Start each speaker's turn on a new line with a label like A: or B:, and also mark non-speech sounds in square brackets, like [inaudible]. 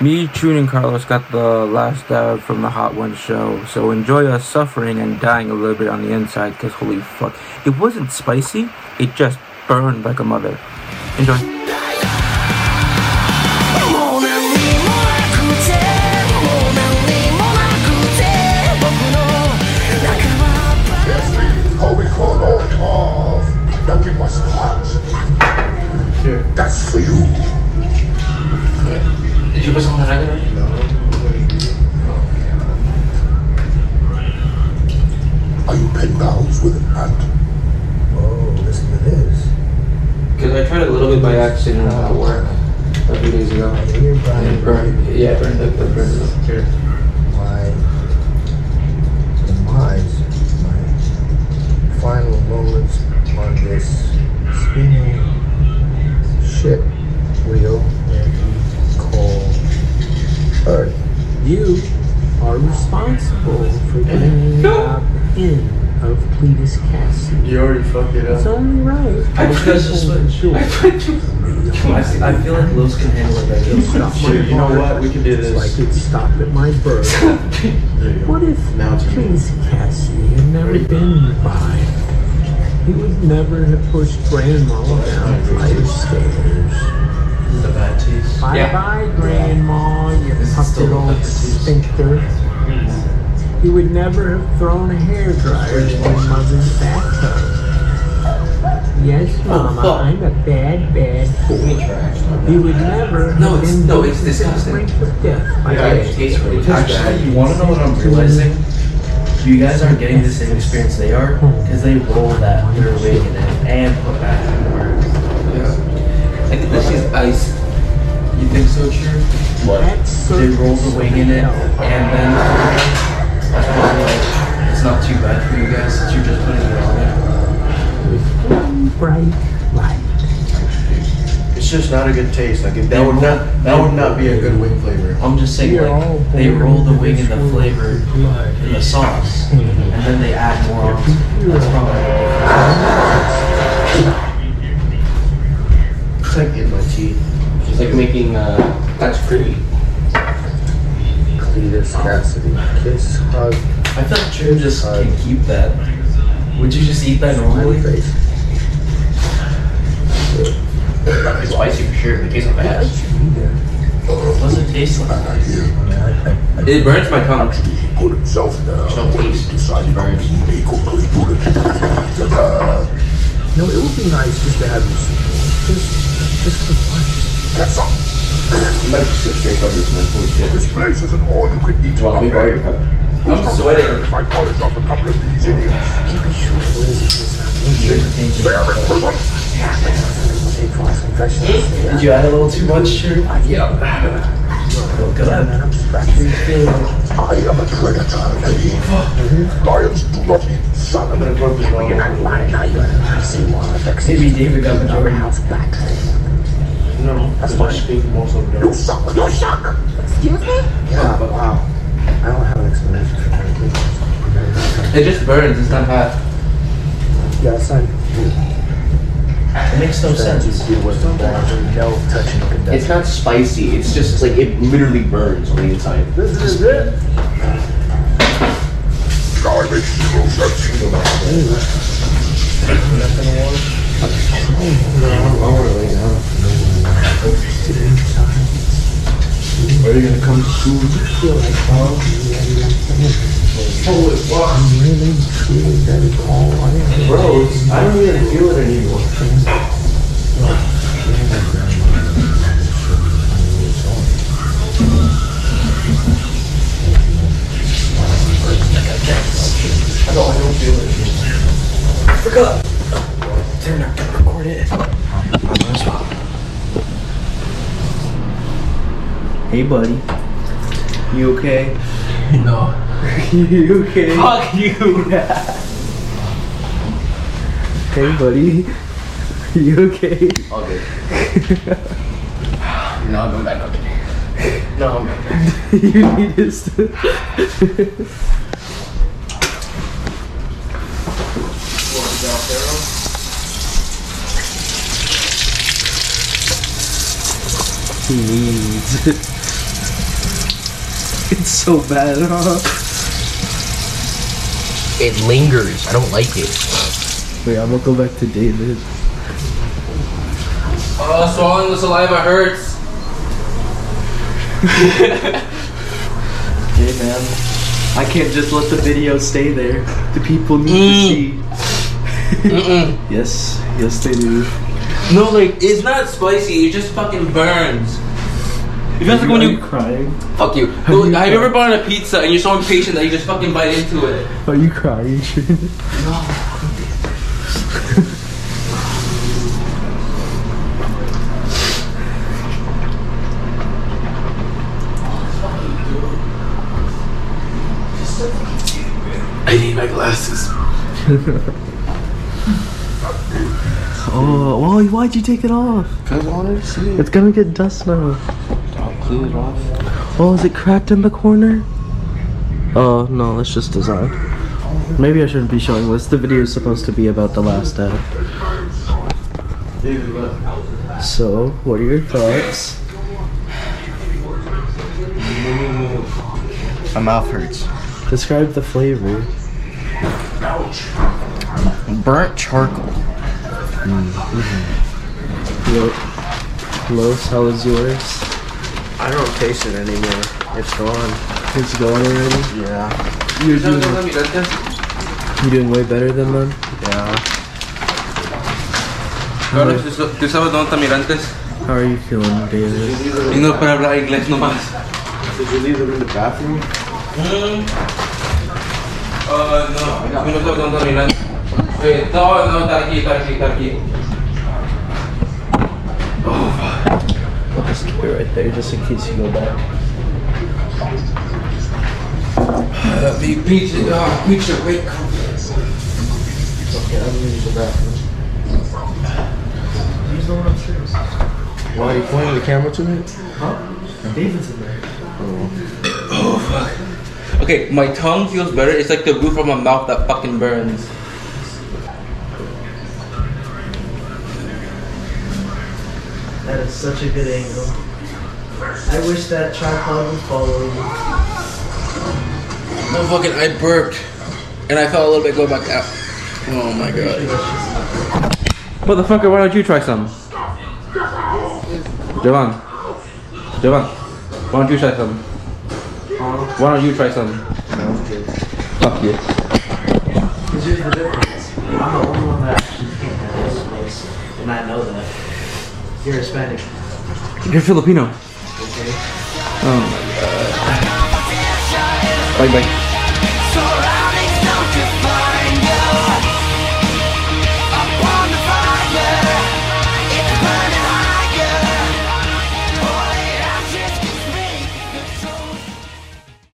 A: Michun and Carlos got the last dab from the Hot One show, so enjoy us suffering and dying a little bit on the inside, because holy fuck. It wasn't spicy, it just burned like a mother. Enjoy.
B: もう何にもなくてもう何にもなくて僕の中は
C: Yes, please. How we call all of that we must hot. That's for you.
D: Did you put something on the record?
C: Are you pen pals with an aunt?
D: Because I tried it a little bit by accident at work a few days ago. And it burned. Yeah, it burned the it burned the Sure.
E: my demise, my final moments on this spinning shit wheel that we call Earth. You are responsible for getting me up in of Cletus Cassidy.
D: You already fucked it
E: It's only right.
D: I put just
E: Sure.
D: I put just. I feel like Los can handle it better.
E: It's not my
F: Shit, you know
E: fault.
F: what? We can do
E: It's
F: this.
E: like it stopped at my
F: [laughs]
E: birth. What if
F: Now it's you.
E: Prince Cassie had never been by? He would never have pushed Grandma down flight of stairs.
F: This is a bad taste.
E: Bye
D: Yeah.
E: bye, Grandma, you
F: This is
E: puppet
F: still
E: old
F: the best.
E: sphincter. He would never have thrown a hairdryer in my mother's bathtub. Yes, Mama,
D: Oh, fuck.
E: I'm a bad, bad boy. He would never
D: No,
E: have
D: it's-
E: been
D: no, it's
E: doomed to the
D: disgusting.
E: brink of death by
D: Yeah, it
E: his
D: tastes really Actually, you want to know what I'm realizing? You guys aren't getting the same experience they are because they roll that under wig and then and put back in work. Yeah. I think this is ice. You think so, true?
E: That's
D: They roll the wing in it and then that's probably like it's not too bad for you guys since you're just putting it on there.
E: Bright light.
F: It's just not a good taste. Like if that would not that would not be a good wing flavor.
D: I'm just saying like they roll the wing in the flavor
E: Blood.
D: in the sauce and then they add more on. That's probably
F: It's like in my teeth.
G: It's like making uh, Dutch gravy.
E: Cletus Cassidy. Kiss, hug,
D: I feel like Trim just can keep that. Would you just eat that normally?
E: smiley face.
G: It's spicy for sure, but it tastes bad.
D: Does it taste like?
C: Not here.
G: It burns my tongue.
C: Actually, he put himself down
G: No
C: when he
G: taste.
C: decided on being a complete bullet. Ta-da.
E: No, it would be nice just to have you support. Just, just for fun.
C: That's all.
G: Like six straight covers, man. Holy shit.
C: This place is an all-you-can-eat
G: Do you want me to borrow your
C: buffet.
G: cup?
C: Who's
G: I'm sweating.
C: If I polished off a couple of these idiots.
E: Keep it short. What is it? It's
C: Bear in prison.
E: not take false impressions.
D: Did you add a little too much, Trim?
G: Uh, Yeah.
D: Because
E: And
D: I
E: then I'm scratching.
C: I am a predator, lady. Lions do not eat salmon.
F: I'm gonna put this on.
E: I see one of the
D: maybe David got the majority.
E: house back.
F: No, that's why I speak most of
C: You
F: them.
C: suck. You suck.
E: Yeah, wow. I don't have an explanation for that.
G: It just burns. It's not hot.
E: Yes, I'm.
D: It makes no sense.
E: It was no touching of the
G: It's not spicy. It's just like it literally burns on the inside.
E: This is it.
C: Now I make zero sense.
F: Are you gonna come soon? Holy fuck,
E: Really, truly, that is all I am.
F: bro! I don't even feel it anymore.
D: Hey, buddy. You okay?
G: No.
D: [laughs] you okay?
G: Fuck you.
D: Hey, buddy. [laughs] You okay?
G: All good. [laughs] no, I'm back. Okay. No, I'm back.
D: [laughs] you need this. he needs it. [laughs] It's so bad. [laughs]
H: It lingers. I don't like it.
D: Wait, I'm gonna go back to David.
A: Oh, swallowing the saliva hurts.
D: [laughs] Hey man, I can't just let the video stay there. The people need
A: Mm.
D: to see. [laughs] yes, yes they do.
A: No, like it's not spicy. It just fucking burns. It feels like when
D: Are
A: you
D: crying?
A: fuck you. Have you ever bought a pizza and you're so impatient that you just fucking bite into it?
D: Are you crying?
A: I need my glasses.
D: oh, Wally, why'd you take it off?
F: Cause I wanted to see it.
D: It's gonna get dust now.
F: I'll clean it off.
D: Oh, is it cracked in the corner? Oh no, that's just design. Maybe I shouldn't be showing this. The video is supposed to be about the last ad.
F: David, what?
D: So, what are your thoughts?
G: My mouth hurts.
D: Describe the flavor.
G: Burnt charcoal.
D: Lo- Los, how was yours?
F: I don't taste it anymore. It's gone.
D: It's going already.
F: Yeah.
D: You're doing, you're doing way better than them.
F: Yeah.
A: Ahora, ¿tú sa- ¿tú sabes dónde está Mirantes?
D: How are you feeling, David?
A: Y no para hablar inglés nomás.
F: Did you leave them in the bathroom?
A: Ah, Mm. no, tú no sabes dónde está Mirantes. Eh, No, no, está aquí, está aquí, está aquí.
D: I'll just keep it right there just in case you go back.
A: The pizza, oh, pizza, wake up.
F: Why are you pointing the camera to me?
D: David's in there.
A: Okay, my tongue feels better. It's like the roof of my mouth that fucking burns.
D: That is such a good angle. I wish that tripod would follow you.
A: Oh fucking, I burped, and I felt a little bit go back out. Oh my god. Motherfucker, why don't you try some? Javon, Javon, why don't you try some? Why don't you try some? Fuck you.
D: Because here's the difference. I'm the only one that actually can't handle spice, and I know that. You're Hispanic,
A: You're Filipino.
D: okay?
A: Bye bye.